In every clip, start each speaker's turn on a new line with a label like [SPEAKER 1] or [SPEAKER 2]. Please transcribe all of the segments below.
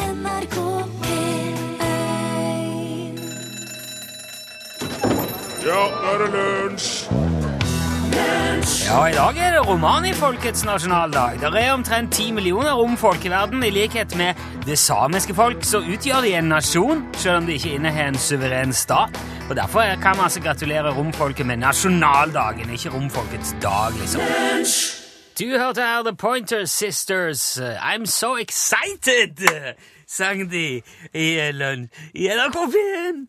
[SPEAKER 1] NRK P1
[SPEAKER 2] Ja, nå er det lunsj!
[SPEAKER 3] Ja, i dag er det romanifolkets nasjonaldag. Det er omtrent ti millioner romfolk i verden. I likhet med det samiske folk så utgjør de en nasjon, selv om de ikke innehar en suveren stat. Og Derfor er- kan man altså gratulere romfolket med nasjonaldagen, ikke romfolkets dag, liksom. Du hørte her The Pointer Sisters. I'm so excited, sang de i, eh, lun- i NRK P1.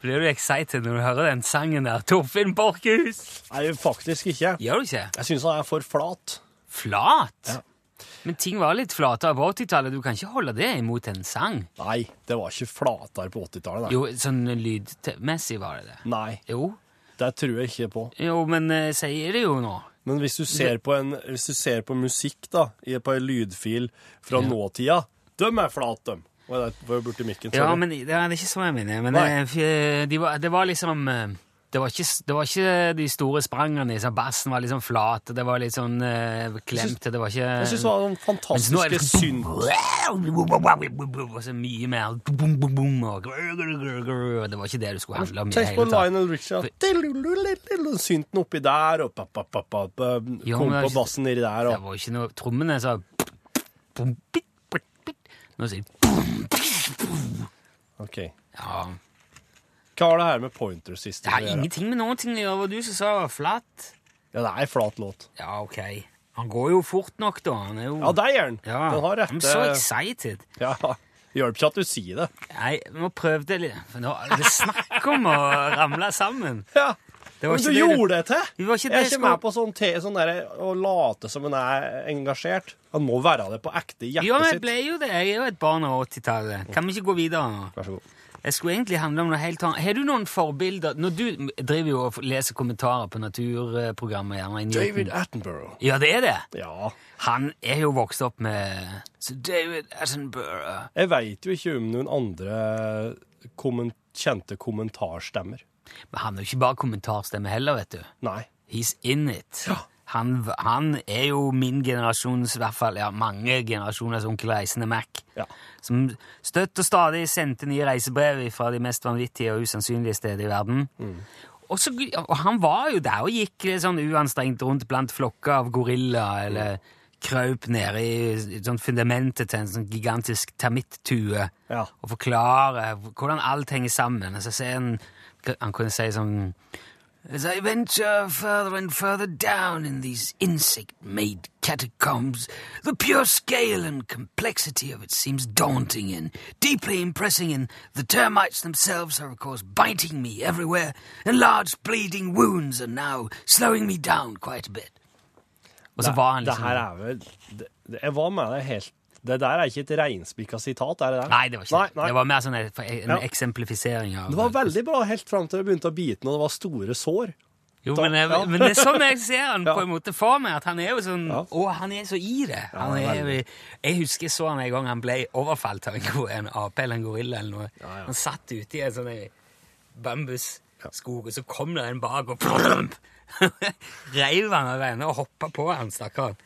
[SPEAKER 3] Blir du excited når du hører den sangen der, Torfinn Borchhus?
[SPEAKER 4] Nei, faktisk ikke.
[SPEAKER 3] Gjør du ikke?
[SPEAKER 4] Jeg syns han er for flat.
[SPEAKER 3] Flat? Men ting var litt flatere på 80-tallet. Du kan ikke holde det imot en sang.
[SPEAKER 4] Nei, det var ikke flatere på 80-tallet.
[SPEAKER 3] Jo, sånn lydmessig var det det.
[SPEAKER 4] nei. Nei,
[SPEAKER 3] Jo,
[SPEAKER 4] det tror jeg ikke på.
[SPEAKER 3] jo men eh, sier det jo nå.
[SPEAKER 4] Men hvis du ser på, en, hvis du ser på musikk da, i- på en lydfil fra nåtida, de er flate, dem. Oi, det var jo borti mikken.
[SPEAKER 3] Ja,
[SPEAKER 4] sorry.
[SPEAKER 3] men det er ikke så jeg mener. Men
[SPEAKER 4] Nei.
[SPEAKER 3] eh, f- de var, det var liksom eh, det var, ikke, s- det var ikke de store sprangene. Liksom. Bassen var litt sånn flat, og det var litt sånn eh, klemt. Det var ikke
[SPEAKER 4] Jeg syns det var noen
[SPEAKER 3] Mens eh, nå er
[SPEAKER 4] fantastiske
[SPEAKER 3] det sånn Og
[SPEAKER 4] synd...
[SPEAKER 3] så mye mer bum, bum, bum, og grr, grr, grr, grr. Det var ikke det du skulle handle om. i det
[SPEAKER 4] Tenk på
[SPEAKER 3] hele tatt.
[SPEAKER 4] Lionel Richard. Synten oppi der, og pa, pa, pa, pa, pa,
[SPEAKER 3] Jo,
[SPEAKER 4] eh, kom
[SPEAKER 3] men det er
[SPEAKER 4] på
[SPEAKER 3] ikke-
[SPEAKER 4] bassen nedi der,
[SPEAKER 3] Det
[SPEAKER 4] og
[SPEAKER 3] var jo ikke noe Trommene sa Nå sier
[SPEAKER 4] OK.
[SPEAKER 3] ja,
[SPEAKER 4] Hva har det her med Pointer Sisters
[SPEAKER 3] Det
[SPEAKER 4] å
[SPEAKER 3] har
[SPEAKER 4] gjøre?
[SPEAKER 3] ingenting med noen ting å gjøre. Hva Du som sa det var flatt.
[SPEAKER 4] Ja, det er en flat låt.
[SPEAKER 3] Ja, ok. Han går jo fort nok, da. Han er jo
[SPEAKER 4] Ja, der gjør den!
[SPEAKER 3] Ja,
[SPEAKER 4] Den har eh.
[SPEAKER 3] I'm so
[SPEAKER 4] rette
[SPEAKER 3] excited.
[SPEAKER 4] Ja, Hjelper ikke at du sier det.
[SPEAKER 3] Nei, vi må prøve det litt. For nå er det snakk om å ramle sammen.
[SPEAKER 4] Ja.
[SPEAKER 3] Det var
[SPEAKER 4] Men
[SPEAKER 3] ikke
[SPEAKER 4] du
[SPEAKER 3] det du-
[SPEAKER 4] gjorde det til!
[SPEAKER 3] Det var ikke det
[SPEAKER 4] jeg er
[SPEAKER 3] jeg
[SPEAKER 4] ikke
[SPEAKER 3] skulle-
[SPEAKER 4] med på sånn, te, sånn der, å late som en er engasjert. Han må være det på ekte i hjertet
[SPEAKER 3] Jo, men jeg
[SPEAKER 4] sitt.
[SPEAKER 3] ble jo det. Jeg er jo et barn av 80-tallet. Kan vi ikke gå videre nå?
[SPEAKER 4] Vær så god.
[SPEAKER 3] Jeg skulle egentlig handle om noe helt annet. Har du noen forbilder? Når du driver jo og leser kommentarer på naturprogrammet gjerne i nyhetene.
[SPEAKER 4] David Attenborough.
[SPEAKER 3] Ja, det er det.
[SPEAKER 4] Ja.
[SPEAKER 3] Han er jo vokst opp med Sir David Attenborough.
[SPEAKER 4] Jeg veit jo ikke om noen andre kommen, kjente kommentarstemmer.
[SPEAKER 3] Men han er jo ikke bare kommentarstemme heller, vet du.
[SPEAKER 4] Nei.
[SPEAKER 3] He's in it. Han, v- han er jo min generasjons, i hvert fall ja, mange generasjoners onkel Reisende Mac,
[SPEAKER 4] Ja.
[SPEAKER 3] som støtt og stadig sendte nye reisebrev fra de mest vanvittige og usannsynlige steder i verden. Og, så, og han var jo der og gikk litt sånn uanstrengt rundt blant flokker av gorillaer, eller krøp nede i et sånt fundamentet til en sånn gigantisk termittue
[SPEAKER 4] Ja.
[SPEAKER 3] og forklare hvordan alt henger sammen. Og så sier han Han kunne si sånn As I venture further and further down in these insect-made catacombs, the pure scale and complexity of it seems daunting and deeply impressing, and the termites themselves are, of course, biting me everywhere, and large bleeding wounds are now slowing me down quite a bit. Og så var han
[SPEAKER 4] Det
[SPEAKER 3] liksom
[SPEAKER 4] her er vel det, det, Jeg var med deg helt Det der er ikke et reinspikka sitat, er det det?
[SPEAKER 3] Nei, det var ikke
[SPEAKER 4] Nei, nei.
[SPEAKER 3] det. var mer sånn en, en
[SPEAKER 4] Ja.
[SPEAKER 3] eksemplifisering av
[SPEAKER 4] Det var veldig bra helt fram til det begynte å bite, og det var store sår.
[SPEAKER 3] Jo,
[SPEAKER 4] Da-
[SPEAKER 3] men, jeg,
[SPEAKER 4] ja.
[SPEAKER 3] men det er sånn jeg ser han på
[SPEAKER 4] Ja.
[SPEAKER 3] en måte for meg, at han er jo sånn
[SPEAKER 4] Ja.
[SPEAKER 3] Å, han er så i det. Han
[SPEAKER 4] Ja,
[SPEAKER 3] er, jeg husker jeg så han en gang han ble overfalt av en, go- en ape eller en gorilla eller noe.
[SPEAKER 4] Ja, ja.
[SPEAKER 3] Han satt ute i en sånn en bambusskog, og så kom det en bak og plump! Reiv han av henne og hoppa på han, stakkaren.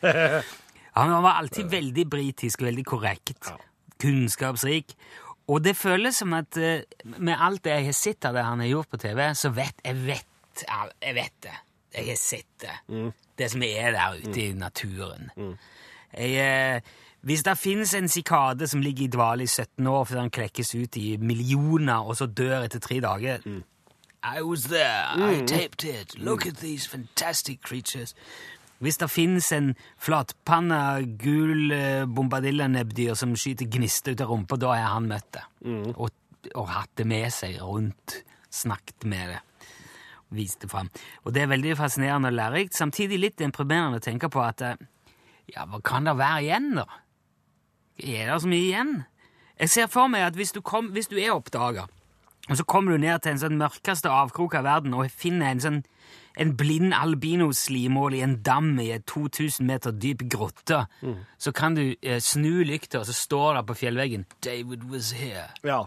[SPEAKER 3] Han var alltid veldig britisk, veldig korrekt, kunnskapsrik. Og det føles som at eh, med alt det jeg har sett av det han har gjort på TV, så vet jeg vet, ja, jeg vet det. Jeg har sett det. Det som er der ute i naturen. Jeg, eh, hvis det finnes en sikade som ligger i dvale i 17 år før den klekkes ut i millioner og så dør etter tre dager I was there, I taped it, look at these fantastic creatures. Hvis det finnes en flatpanna, gul eh, bombadilla-nebbdyr som skyter gnister ut av rumpa, da har han møtt det. Og, og hatt det med seg rundt, snakket med det. Vist det fram. Og det er veldig fascinerende og lærerikt, samtidig litt deprimerende å tenke på at eh, ja, hva kan det være igjen, da? Er det så mye igjen? Jeg ser for meg at hvis du, kom, hvis du er oppdaga, og så kommer du ned til en sånn mørkeste avkrok av verden og finner en sånn en blind albinoslimål i en dam i en 2000 meter dyp grotte, så kan du eh, snu lykta, og så står det på fjellveggen 'David was here',
[SPEAKER 4] Ja.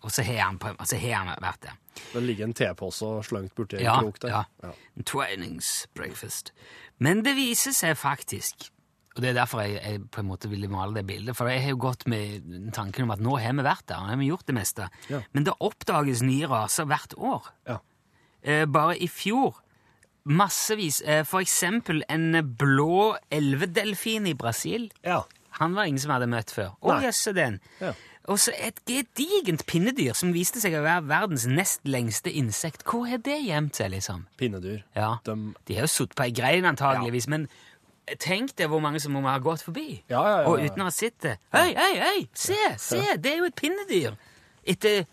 [SPEAKER 3] og så har han, på- og så har han vært der.
[SPEAKER 4] Det ligger en tepose slengt borti en
[SPEAKER 3] Ja,
[SPEAKER 4] krok der.
[SPEAKER 3] ja. Twinings breakfast. Men det viser seg faktisk Og det er derfor jeg, jeg på en måte ville male det bildet. For jeg har jo gått med tanken om at nå har vi vært der, nå har vi gjort det meste.
[SPEAKER 4] Ja.
[SPEAKER 3] Men det oppdages nye raser hvert år.
[SPEAKER 4] Ja.
[SPEAKER 3] Eh, bare i fjor massevis. Eh, for eksempel en blå elvedelfin i Brasil.
[SPEAKER 4] Ja.
[SPEAKER 3] Han var ingen som hadde møtt før. Å,
[SPEAKER 4] Nei.
[SPEAKER 3] jøsse den.
[SPEAKER 4] Ja.
[SPEAKER 3] Og så et gedigent pinnedyr som viste seg å være verdens nest lengste insekt. Hvor har det gjemt seg, liksom?
[SPEAKER 4] Pinnedyr.
[SPEAKER 3] Ja,
[SPEAKER 4] Dem-
[SPEAKER 3] De har jo sittet på ei grein, antageligvis, men tenk deg hvor mange som må ha gått forbi.
[SPEAKER 4] Ja, ja, ja,
[SPEAKER 3] Og
[SPEAKER 4] ja.
[SPEAKER 3] uten å ha sett det. Hei, hei, hei! Se, se! Det er jo et pinnedyr! Etter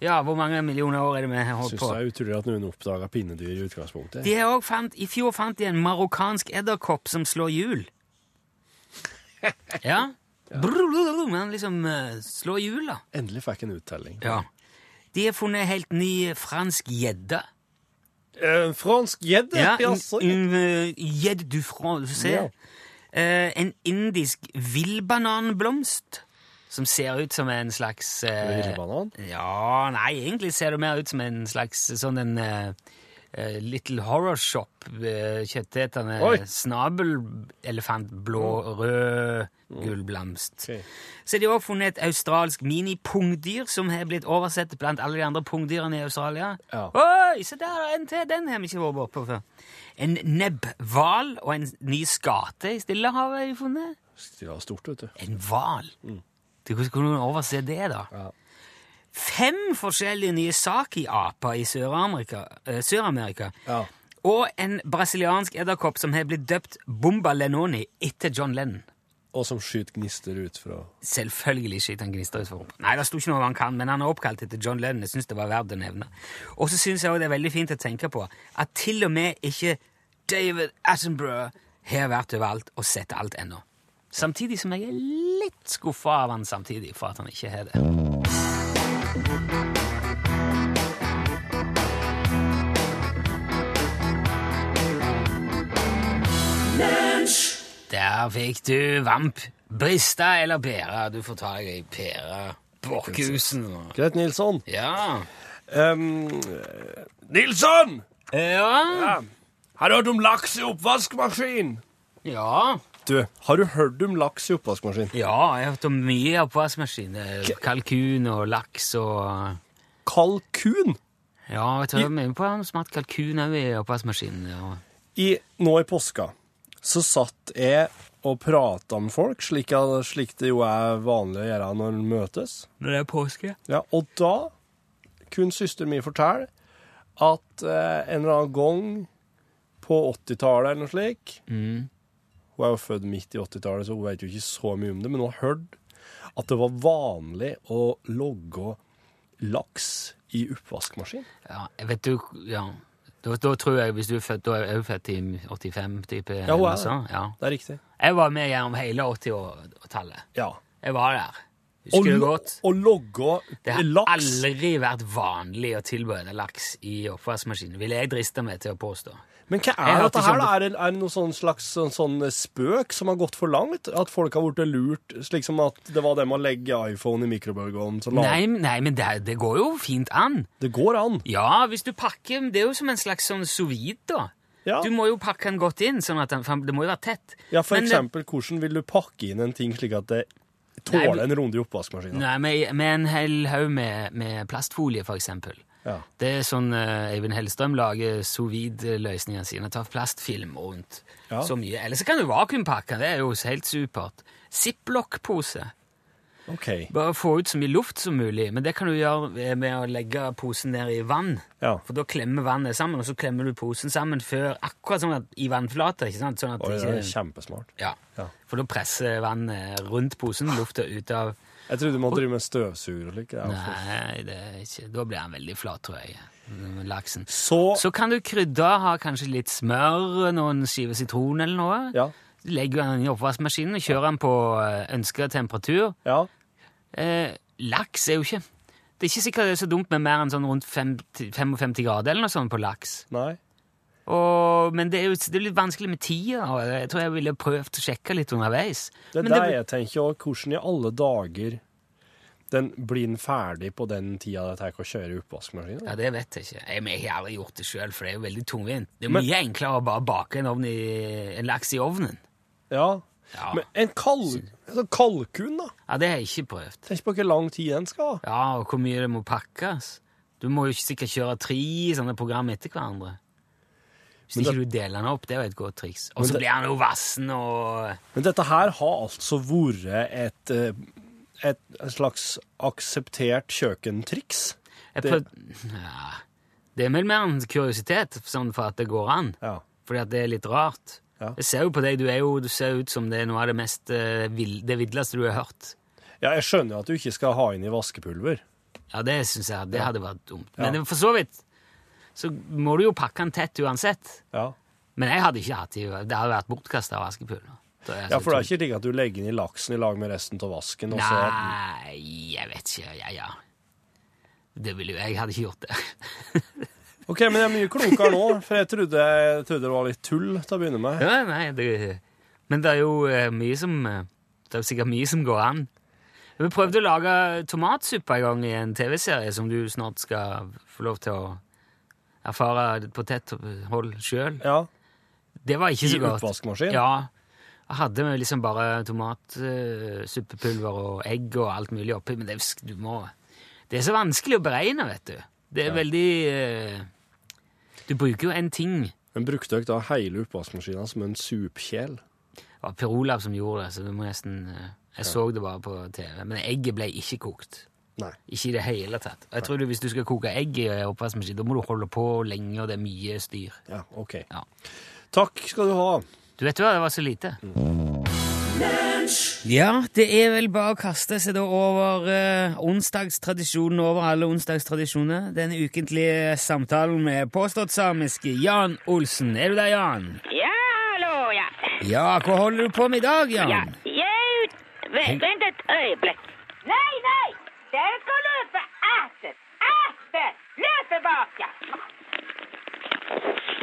[SPEAKER 3] Ja, hvor mange millioner år er det vi har holdt
[SPEAKER 4] Syns
[SPEAKER 3] på?
[SPEAKER 4] det er utrolig at noen oppdaga pinnedyr i utgangspunktet.
[SPEAKER 3] De har også fant, I fjor fant de en marokkansk edderkopp som slår hjul. Ja. Brulululum, Han liksom eh, slår hjul, da.
[SPEAKER 4] Endelig fikk en uttelling.
[SPEAKER 3] Ja. De har funnet en helt ny fransk gjedde.
[SPEAKER 4] En fransk gjedde? altså.
[SPEAKER 3] Ja, en-
[SPEAKER 4] jaså.
[SPEAKER 3] en, eh, Gjedde du France.
[SPEAKER 4] Ja.
[SPEAKER 3] Eh, en indisk villbananblomst som ser ut som en slags eh,
[SPEAKER 4] Villbanan?
[SPEAKER 3] Ja, nei, egentlig ser det mer ut som en slags sånn en eh, eh, Little Horror Shop, eh, kjøttetende
[SPEAKER 4] Oi.
[SPEAKER 3] snabelelefant, blå, rød, gullblomst.
[SPEAKER 4] Ok.
[SPEAKER 3] Så de har også funnet et australsk minipungdyr som har blitt oversett blant alle de andre pungdyrene i Australia.
[SPEAKER 4] Ja.
[SPEAKER 3] Oi, se der er en til! Den har vi ikke vært bortpå før. En nebbhval og en ny skate i Stillehavet har de funnet.
[SPEAKER 4] Stilla stort, vet du.
[SPEAKER 3] En hval? Du, Hvordan kunne du overse det, da?
[SPEAKER 4] Mm. Ja.
[SPEAKER 3] Fem forskjellige nye saki-aper i Sør-Amerika eh, Sør-Amerika.
[SPEAKER 4] Ja.
[SPEAKER 3] og en brasiliansk edderkopp som har blitt døpt Bomba Lenoni etter John Lennon.
[SPEAKER 4] Og som skyter gnister ut fra
[SPEAKER 3] Selvfølgelig skyter han gnister utfor rumpa. Nei, det sto ikke noe han kan, men han er oppkalt etter John Lennon. Jeg synes det var verdt å nevne. Og så syns jeg også det er veldig fint å tenke på at til og med ikke David Attenborough har vært overalt og sett alt ennå. Samtidig som jeg er litt skuffa av han samtidig for at han ikke har det. Der fikk du Vamp, Brista eller Pæra. Du får ta deg i Pæra Borkhusen.
[SPEAKER 4] Greit, Nilsson.
[SPEAKER 3] Ja.
[SPEAKER 4] Nilsson!
[SPEAKER 3] Ja.
[SPEAKER 4] Har du hørt om laks i oppvaskmaskin?
[SPEAKER 3] Ja,
[SPEAKER 4] Du, har du hørt om laks i oppvaskmaskin?
[SPEAKER 3] ja jeg har hørt om mye oppvaskmaskiner. Kalkun og laks og
[SPEAKER 4] Kalkun?
[SPEAKER 3] Ja, jeg tror vi er inne på han smart kalkun òg i oppvaskmaskinen. Ja.
[SPEAKER 4] I, nå i påska så satt jeg og prata med folk, slik, jeg- slik det jo er vanlig å gjøre når en møtes.
[SPEAKER 3] Når det er påske?
[SPEAKER 4] Ja, og da kunne søsteren min fortelle at eh, en eller annen gang på 80-tallet eller noe slik
[SPEAKER 3] Mm.
[SPEAKER 4] Hun er jo født midt i 80-tallet, så hun vet jo ikke så mye om det, men hun har hørt at det var vanlig å logge laks i oppvaskmaskin.
[SPEAKER 3] Ja, jeg vet du Ja. Da, da tror jeg, hvis du er født, da er jeg jo født i 85-type
[SPEAKER 4] Ja, hun er
[SPEAKER 3] sånn. Ja.
[SPEAKER 4] Det er riktig.
[SPEAKER 3] Jeg var med gjennom hele 80-tallet.
[SPEAKER 4] Ja.
[SPEAKER 3] Jeg var der.
[SPEAKER 4] Å
[SPEAKER 3] Husker du
[SPEAKER 4] lo-
[SPEAKER 3] godt?
[SPEAKER 4] Å logge
[SPEAKER 3] Det har
[SPEAKER 4] laks
[SPEAKER 3] aldri vært vanlig å tilberede laks i oppvaskmaskinen, vil jeg driste meg til å påstå.
[SPEAKER 4] Men hva
[SPEAKER 3] Jeg
[SPEAKER 4] er
[SPEAKER 3] har
[SPEAKER 4] dette
[SPEAKER 3] ikke
[SPEAKER 4] her, da?
[SPEAKER 3] skjønt
[SPEAKER 4] Er det, er det noe sånn slags sånn, sånn spøk som har gått for langt? At folk har blitt lurt, slik som at det var dem å legge iPhone i mikrobølgeovnen? så la-
[SPEAKER 3] Nei, nei men det, det går jo fint an.
[SPEAKER 4] Det går an.
[SPEAKER 3] Ja, hvis du pakker Det er jo som en slags sånn sous-vide, da.
[SPEAKER 4] Ja.
[SPEAKER 3] Du må jo pakke den godt inn, sånn at den, for det må jo være tett.
[SPEAKER 4] Ja, for
[SPEAKER 3] Men, eh,
[SPEAKER 4] eksempel, hvordan vil du pakke inn en ting slik at det
[SPEAKER 3] Nei,
[SPEAKER 4] tåler
[SPEAKER 3] men-
[SPEAKER 4] en runde i oppvaskmaskinen?
[SPEAKER 3] Nei, med, med en hel haug med, med plastfolie, for eksempel.
[SPEAKER 4] Ja.
[SPEAKER 3] Det er sånn eh, Eivind Hellstrøm lager sous-vide-løsningene sine. Tar plastfilm rundt
[SPEAKER 4] Ja.
[SPEAKER 3] så mye. Eller så kan du vakuumpakke. Det er jo helt supert. Ziplock-pose.
[SPEAKER 4] OK.
[SPEAKER 3] Bare få ut så mye luft som mulig, men det kan du gjøre med å legge posen ned i vann.
[SPEAKER 4] Ja.
[SPEAKER 3] For da klemmer vannet sammen, og så klemmer du posen sammen før akkurat sånn at i vannflata. ikke sant? Sånn at
[SPEAKER 4] Oi,
[SPEAKER 3] det
[SPEAKER 4] det er
[SPEAKER 3] ikke,
[SPEAKER 4] kjempesmart.
[SPEAKER 3] ja.
[SPEAKER 4] Ja.
[SPEAKER 3] For da presser vannet rundt posen, lufta ut av
[SPEAKER 4] Jeg trodde du måtte drive med støvsuger og slikt. Ja.
[SPEAKER 3] Nei, det er ikke, da blir han veldig flat, tror jeg. Laksen.
[SPEAKER 4] Så
[SPEAKER 3] Så kan du krydre, ha kanskje litt smør, noen skiver sitron eller noe.
[SPEAKER 4] Ja.
[SPEAKER 3] Legger den i oppvaskmaskinen og kjører den på ønska temperatur.
[SPEAKER 4] Ja.
[SPEAKER 3] Eh, laks er jo ikke Det er ikke sikkert det er så dumt med mer enn sånn rundt 50, 55 grader eller noe sånt på laks.
[SPEAKER 4] Nei.
[SPEAKER 3] Og, men det er jo det er litt vanskelig med tida. og Jeg tror jeg ville prøvd å sjekke litt underveis.
[SPEAKER 4] Det er
[SPEAKER 3] Men
[SPEAKER 4] der jeg tenker òg. Hvordan i alle dager den blir den ferdig på den tida det tar å kjøre i oppvaskmaskinen?
[SPEAKER 3] Ja, det vet jeg ikke. Jeg, men jeg har aldri gjort det sjøl, for det er jo veldig tungvint. Det er
[SPEAKER 4] Men-
[SPEAKER 3] mye enklere å bare bake en, ovn i, en laks i ovnen.
[SPEAKER 4] Ja,
[SPEAKER 3] Ja.
[SPEAKER 4] Men en kal altså kalkun, da?
[SPEAKER 3] ja, det har jeg ikke prøvd.
[SPEAKER 4] Tenk på hvor lang tid den skal ha.
[SPEAKER 3] Ja, og hvor mye det må pakkes. Du må jo ikke sikkert kjøre tre sånne program etter hverandre. Hvis
[SPEAKER 4] Men
[SPEAKER 3] ikke
[SPEAKER 4] det-
[SPEAKER 3] du deler den opp, det er jo et godt triks. Og
[SPEAKER 4] Men
[SPEAKER 3] så
[SPEAKER 4] det-
[SPEAKER 3] blir han jo vassen og
[SPEAKER 4] Men dette her har altså vært et, eh, et, et slags akseptert kjøkkentriks.
[SPEAKER 3] jeg
[SPEAKER 4] Det-
[SPEAKER 3] prøv... ja. Det er vel mer en kuriositet, sånn for at det går an.
[SPEAKER 4] Ja.
[SPEAKER 3] Fordi at det er litt rart.
[SPEAKER 4] Ja.
[SPEAKER 3] Jeg ser jo på deg, du, er jo, du ser ut som det er noe av det mest eh, vill, det villeste du har hørt.
[SPEAKER 4] ja, jeg skjønner at du ikke skal ha inn i vaskepulver.
[SPEAKER 3] Ja, det synes jeg det hadde vært dumt.
[SPEAKER 4] Ja.
[SPEAKER 3] Men det- for så vidt så må du jo pakke den tett uansett.
[SPEAKER 4] Ja,
[SPEAKER 3] Men jeg hadde ikke hatt det. Det hadde vært bortkasta vaskepulver. Da er jeg
[SPEAKER 4] ja
[SPEAKER 3] så
[SPEAKER 4] for det er ikke slik at du legger inn i laksen i lag med resten av vasken. Og så,
[SPEAKER 3] Nei, jeg vet ikke. Ja, ja. Det ville jo jeg hadde ikke gjort det.
[SPEAKER 4] ok, men jeg er mye klokere nå, for jeg trodde, jeg trodde det var litt tull til å begynne med.
[SPEAKER 3] ja, nei, det, men det er jo eh, mye som eh, Det er jo sikkert mye som går an. Vi prøvde å lage tomatsuppe en gang i en TV-serie som du snart skal få lov til å erfare på tett hold sjøl.
[SPEAKER 4] Ja,
[SPEAKER 3] Det var ikke
[SPEAKER 4] I
[SPEAKER 3] så godt.
[SPEAKER 4] oppvaskmaskin?
[SPEAKER 3] Ja. Jeg hadde jo liksom bare tomatsuppepulver og egg og alt mulig oppi, men det, er sk- du må, det er så vanskelig å beregne, vet du. Det er veldig eh, Du bruker jo en ting.
[SPEAKER 4] Men brukte dere da hele oppvaskmaskinen som en supkjel?
[SPEAKER 3] Det var Per Olav som gjorde det, så du må nesten eh, Jeg så det bare på TV. Men egget ble ikke kokt.
[SPEAKER 4] Nei.
[SPEAKER 3] Ikke i det hele tatt. Og Jeg tror du, Hvis du skal koke egg i oppvaskmaskin, da må du holde på lenge, og det er mye styr.
[SPEAKER 4] Ja, ok.
[SPEAKER 3] Ja.
[SPEAKER 4] Takk skal du ha.
[SPEAKER 3] Du vet hva, det var så lite. Ja, det er vel bare å kaste seg da over eh, onsdagstradisjonen over alle onsdagstradisjoner. Den ukentlige samtalen med påstått samiske Jan Olsen. Er du der, Jan?
[SPEAKER 1] Ja, hallo, ja.
[SPEAKER 3] Ja, hva holder du på med i dag,
[SPEAKER 1] Ja,
[SPEAKER 3] Jan?
[SPEAKER 1] jeg Vent, vent et øyeblikk. Nei, nei! Dere skal løpe etter! Etter! Løpe bak, ja.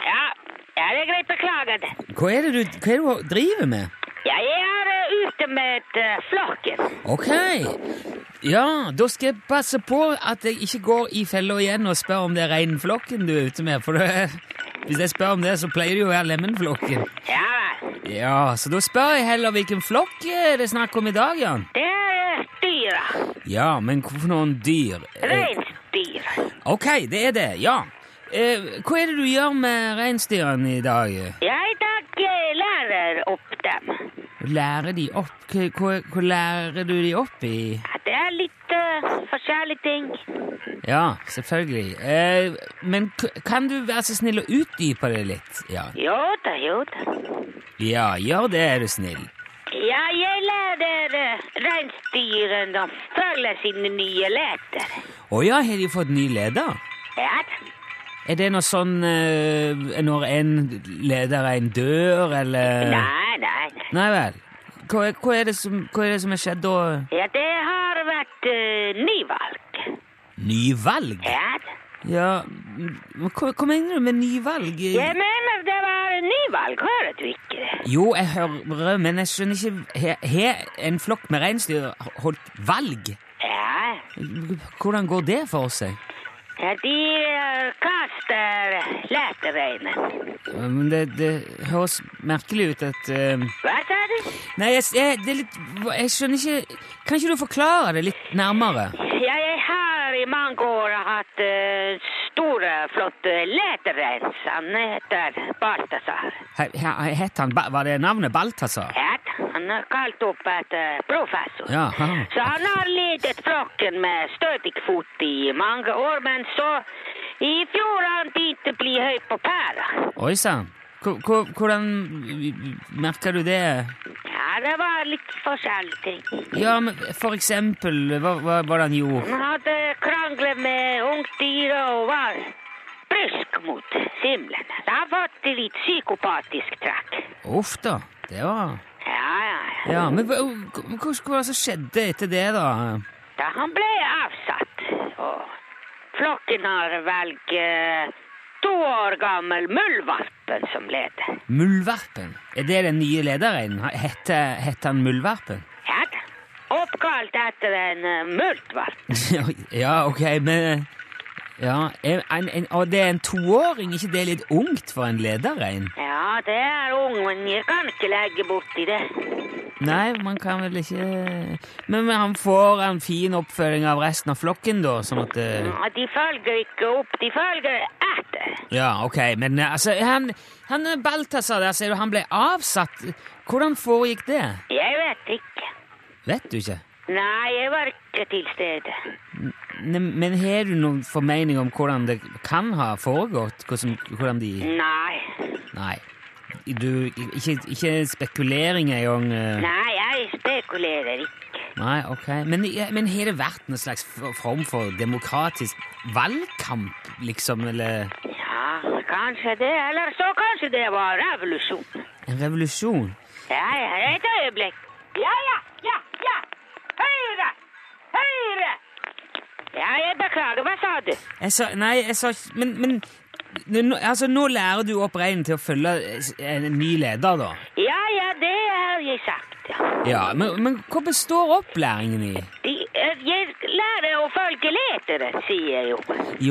[SPEAKER 1] Ja, ja det er greit. Beklager det.
[SPEAKER 3] Hva er det du, hva er det du driver med?
[SPEAKER 1] Ja, jeg er eh, ute med eh, flokken.
[SPEAKER 3] Ok. Ja, da skal jeg passe på at jeg ikke går i fella igjen og spør om det er reinflokken du er ute med. For det, hvis jeg spør om det, så pleier det jo å være lemenflokken.
[SPEAKER 1] Ja vel.
[SPEAKER 3] Ja, så da spør jeg heller hvilken flokk eh, det er snakk om i dag, Jan.
[SPEAKER 1] Det er eh, dyra.
[SPEAKER 3] Ja, men hvorfor noen dyr? Eh,
[SPEAKER 1] Reinsdyr.
[SPEAKER 3] ok, det er det, ja. Eh, hva er det du gjør med reinsdyrene i dag?
[SPEAKER 1] Ja, i dag eh, lærer opp dem.
[SPEAKER 3] Lærer de opp? Hva, hva, hva lærer du de opp i?
[SPEAKER 1] Ja, det er litt eh, forskjellige ting.
[SPEAKER 3] Ja, selvfølgelig. Eh, men k- kan du være så snill å utdype det litt? Ja,
[SPEAKER 1] Jo da, jo da.
[SPEAKER 3] ja gjør det, er du snill.
[SPEAKER 1] Ja, jeg lærer uh, reinsdyrene å følge sine nye leter.
[SPEAKER 3] Å ja, har de fått ny leder?
[SPEAKER 1] Ja,
[SPEAKER 3] Er det noe sånn eh, når en leder en dør, eller
[SPEAKER 1] nei, nei. nei.
[SPEAKER 3] Nei vel. Hva er, hva er, det, som, hva er det som er skjedd da?
[SPEAKER 1] Ja, det har vært uh, nyvalg.
[SPEAKER 3] Nyvalg?
[SPEAKER 1] Ja,
[SPEAKER 3] Ja, m- men hva, hva mener du med nyvalg?
[SPEAKER 1] jeg mener det var nyvalg, hører du ikke det?
[SPEAKER 3] Jo, jeg hører, men jeg skjønner ikke Har- Har en flokk med reinsdyr holdt valg?
[SPEAKER 1] Ja,
[SPEAKER 3] Hvordan går det for seg?
[SPEAKER 1] ja de eh, kaster letereinen.
[SPEAKER 3] Men Det, det høres merkelig ut at eh,
[SPEAKER 1] Hva sa du?
[SPEAKER 3] Nei, jeg, jeg, det er litt Jeg skjønner ikke Kan ikke du forklare det litt nærmere?
[SPEAKER 1] Ja, jeg har i mange år hatt eh, store, flotte leterein. Han heter Balthazar.
[SPEAKER 3] He- he- Het han Ba- Var det navnet Balthazar?
[SPEAKER 1] Ja, han er kalt opp etter professor.
[SPEAKER 3] Jaha.
[SPEAKER 1] Så han har ledet flokken med stødig fot i mange år, men så i fjor han begynte å bli høy på pæra.
[SPEAKER 3] Oi sann. Hvor- hvor- Hvordan merker du det?
[SPEAKER 1] Ja, det var litt forskjellige ting.
[SPEAKER 3] Ja, men for eksempel, hva, hva var det han gjorde?
[SPEAKER 1] Han hadde kranglet med ungdyra og var brysk mot simlen. Han fikk litt psykopatisk trekk.
[SPEAKER 3] Uff da, det var...
[SPEAKER 1] Ja, ja, ja.
[SPEAKER 3] Ja, men hva, hva, hva var det som skjedde etter det da?
[SPEAKER 1] Da han ble avsatt, og flokken har velget eh, to år gammel muldvarpen som leder.
[SPEAKER 3] Muldvarpen? Er det den nye lederen? Hette, hette han Muldvarpen?
[SPEAKER 1] Ja, da. oppkalt etter en eh, muldvarp.
[SPEAKER 3] ja, ok, men... Ja, en, en, en, og det er en toåring, ikke det er litt ungt for en lederrein?
[SPEAKER 1] Ja, det er ung, men jeg kan ikke legge borti det.
[SPEAKER 3] Nei, man kan vel ikke Men men han får en fin oppfølging av resten av flokken, da? Sånn at eh,
[SPEAKER 1] Ja, de følger ikke opp, de følger etter.
[SPEAKER 3] Ja, ok. Men eh, altså, han, han eh, Balthazar der, ser du, han ble avsatt. Hvordan foregikk det?
[SPEAKER 1] Jeg vet ikke.
[SPEAKER 3] Vet du ikke?
[SPEAKER 1] Nei, jeg var ikke til stede.
[SPEAKER 3] Ne, men har du noen formening om hvordan det kan ha foregått? Hvordan, hvordan de
[SPEAKER 1] Nei.
[SPEAKER 3] Nei. Du, ikke, ikke spekulering engang? eh.
[SPEAKER 1] Nei, jeg spekulerer ikke.
[SPEAKER 3] Nei, ok. Men, men har det vært noen slags f- form for demokratisk valgkamp, liksom? Eller
[SPEAKER 1] Ja, kanskje det, eller så kanskje det var revolusjon.
[SPEAKER 3] en revolusjon?
[SPEAKER 1] Ja, ja, et øyeblikk. Ja, ja, ja, ja. Høyre! Høyre! Ja, jeg beklager, hva sa du?
[SPEAKER 3] Jeg sa, nei, jeg sa ikke Men, men nå, altså, nå lærer du opp reinen til å følge eh, en ny leder, da.
[SPEAKER 1] Ja, ja, det har jeg sagt, ja.
[SPEAKER 3] Ja, Men, men hva består opplæringen i?
[SPEAKER 1] De, eh, jeg lærer å følge letere, sier jeg jo.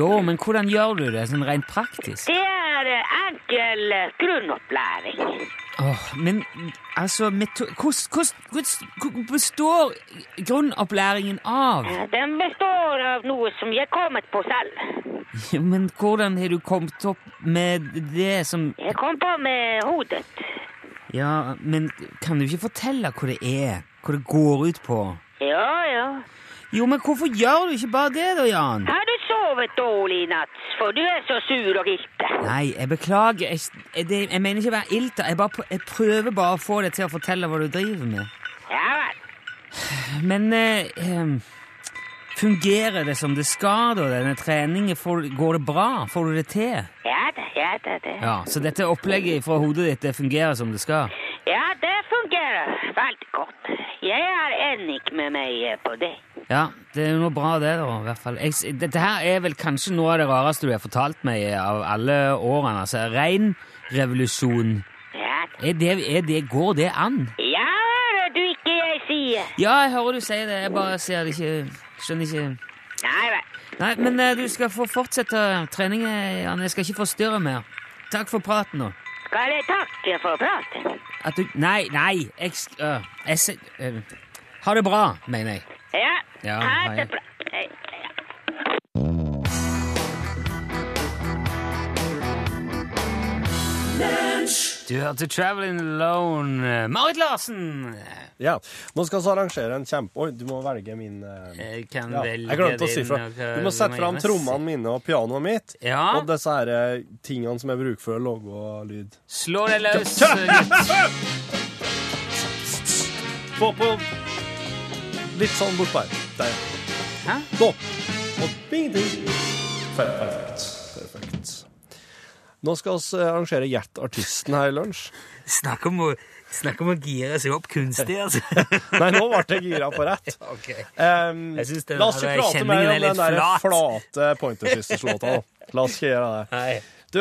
[SPEAKER 3] Jo, men hvordan gjør du det sånn rent praktisk?
[SPEAKER 1] Det er eh, enkel eh, grunnopplæring.
[SPEAKER 3] Åh, men altså meto hvordan- hvordan- hvordan- Hvordan består grunnopplæringen av?
[SPEAKER 1] Ja, Den består av noe som jeg kommet på selv.
[SPEAKER 3] Ja, Men hvordan har du kommet opp med det som
[SPEAKER 1] Jeg kom på med hodet.
[SPEAKER 3] Ja, men kan du ikke fortelle hva det er? Hva det går ut på?
[SPEAKER 1] Ja, ja.
[SPEAKER 3] Jo, men hvorfor gjør du ikke bare det da, Jan?
[SPEAKER 1] Har du sovet dårlig i natt? For du er så sur og gilte.
[SPEAKER 3] Nei, jeg beklager. Jeg, jeg, det- jeg mener ikke å være ilter. Jeg, bare, pr- jeg prøver bare å få deg til å fortelle hva du driver med.
[SPEAKER 1] Ja vel.
[SPEAKER 3] Men eh, ehm, fungerer det som det skal, da, denne treningen? Får, går det bra? Får du det til?
[SPEAKER 1] Ja da, ja da, det.
[SPEAKER 3] Ja, Så dette opplegget fra hodet ditt det fungerer som det skal?
[SPEAKER 1] Ja, det fungerer veldig godt. Jeg er enig med meg eh, på det.
[SPEAKER 3] Ja, det er jo noe bra det, da. i hvert fall. Jeg, s- dette her er vel kanskje noe av det rareste du har fortalt meg av alle årene. altså Rein revolusjon.
[SPEAKER 1] Ja, da.
[SPEAKER 3] Er det, er det, går det an?
[SPEAKER 1] ja hører du ikke jeg sier?
[SPEAKER 3] Ja, jeg hører du sier det. Jeg bare ser det ikke Skjønner ikke
[SPEAKER 1] Nei vel.
[SPEAKER 3] Nei, men eh, du skal få fortsette treningen, Jan. Jeg skal ikke forstyrre mer. Takk for praten nå.
[SPEAKER 1] Skal jeg takke for praten?
[SPEAKER 3] At du Nei, nei! Jeg, sk- øh, jeg se- øh, Ha det bra, mener jeg.
[SPEAKER 1] Ja.
[SPEAKER 3] Ja,
[SPEAKER 1] ha det
[SPEAKER 3] hei.
[SPEAKER 1] bra. Hei, hei.
[SPEAKER 3] Du hørte Traveling Alone. Marit Larsen!
[SPEAKER 4] Ja. Nå skal vi arrangere en kjempe... Oi, du må velge min eh,
[SPEAKER 3] Jeg kan
[SPEAKER 4] ja.
[SPEAKER 3] velge
[SPEAKER 4] Jeg glemte å si
[SPEAKER 3] din,
[SPEAKER 4] fra.
[SPEAKER 3] og hva
[SPEAKER 4] Du må sette
[SPEAKER 3] gjøre
[SPEAKER 4] fram
[SPEAKER 3] med
[SPEAKER 4] trommene mine og pianoet mitt.
[SPEAKER 3] seg. Ja,
[SPEAKER 4] Og disse her eh, tingene som jeg bruker for å lage lyd.
[SPEAKER 3] slå deg løs, eh, gutt.
[SPEAKER 4] Få på litt sånn bortpå her. Der.
[SPEAKER 3] Hæ?
[SPEAKER 4] Nå. Og bing, ding. Perfekt. Perfekt. Nå skal vi eh, arrangere Gjert artisten her i lunsj.
[SPEAKER 3] Snakk om, å- snakk om å gire seg opp kunstig, altså.
[SPEAKER 4] Nei, nå ble jeg gira på rett.
[SPEAKER 3] Ok.
[SPEAKER 4] Ehm,
[SPEAKER 3] Jeg synes den
[SPEAKER 4] la oss
[SPEAKER 3] her
[SPEAKER 4] ikke prate
[SPEAKER 3] kjenningen
[SPEAKER 4] mer
[SPEAKER 3] er
[SPEAKER 4] om den
[SPEAKER 3] litt
[SPEAKER 4] der
[SPEAKER 3] flat.
[SPEAKER 4] flate Pointer Sisters-låta. nå. La oss ikke gjøre det.
[SPEAKER 3] Nei.
[SPEAKER 4] Du,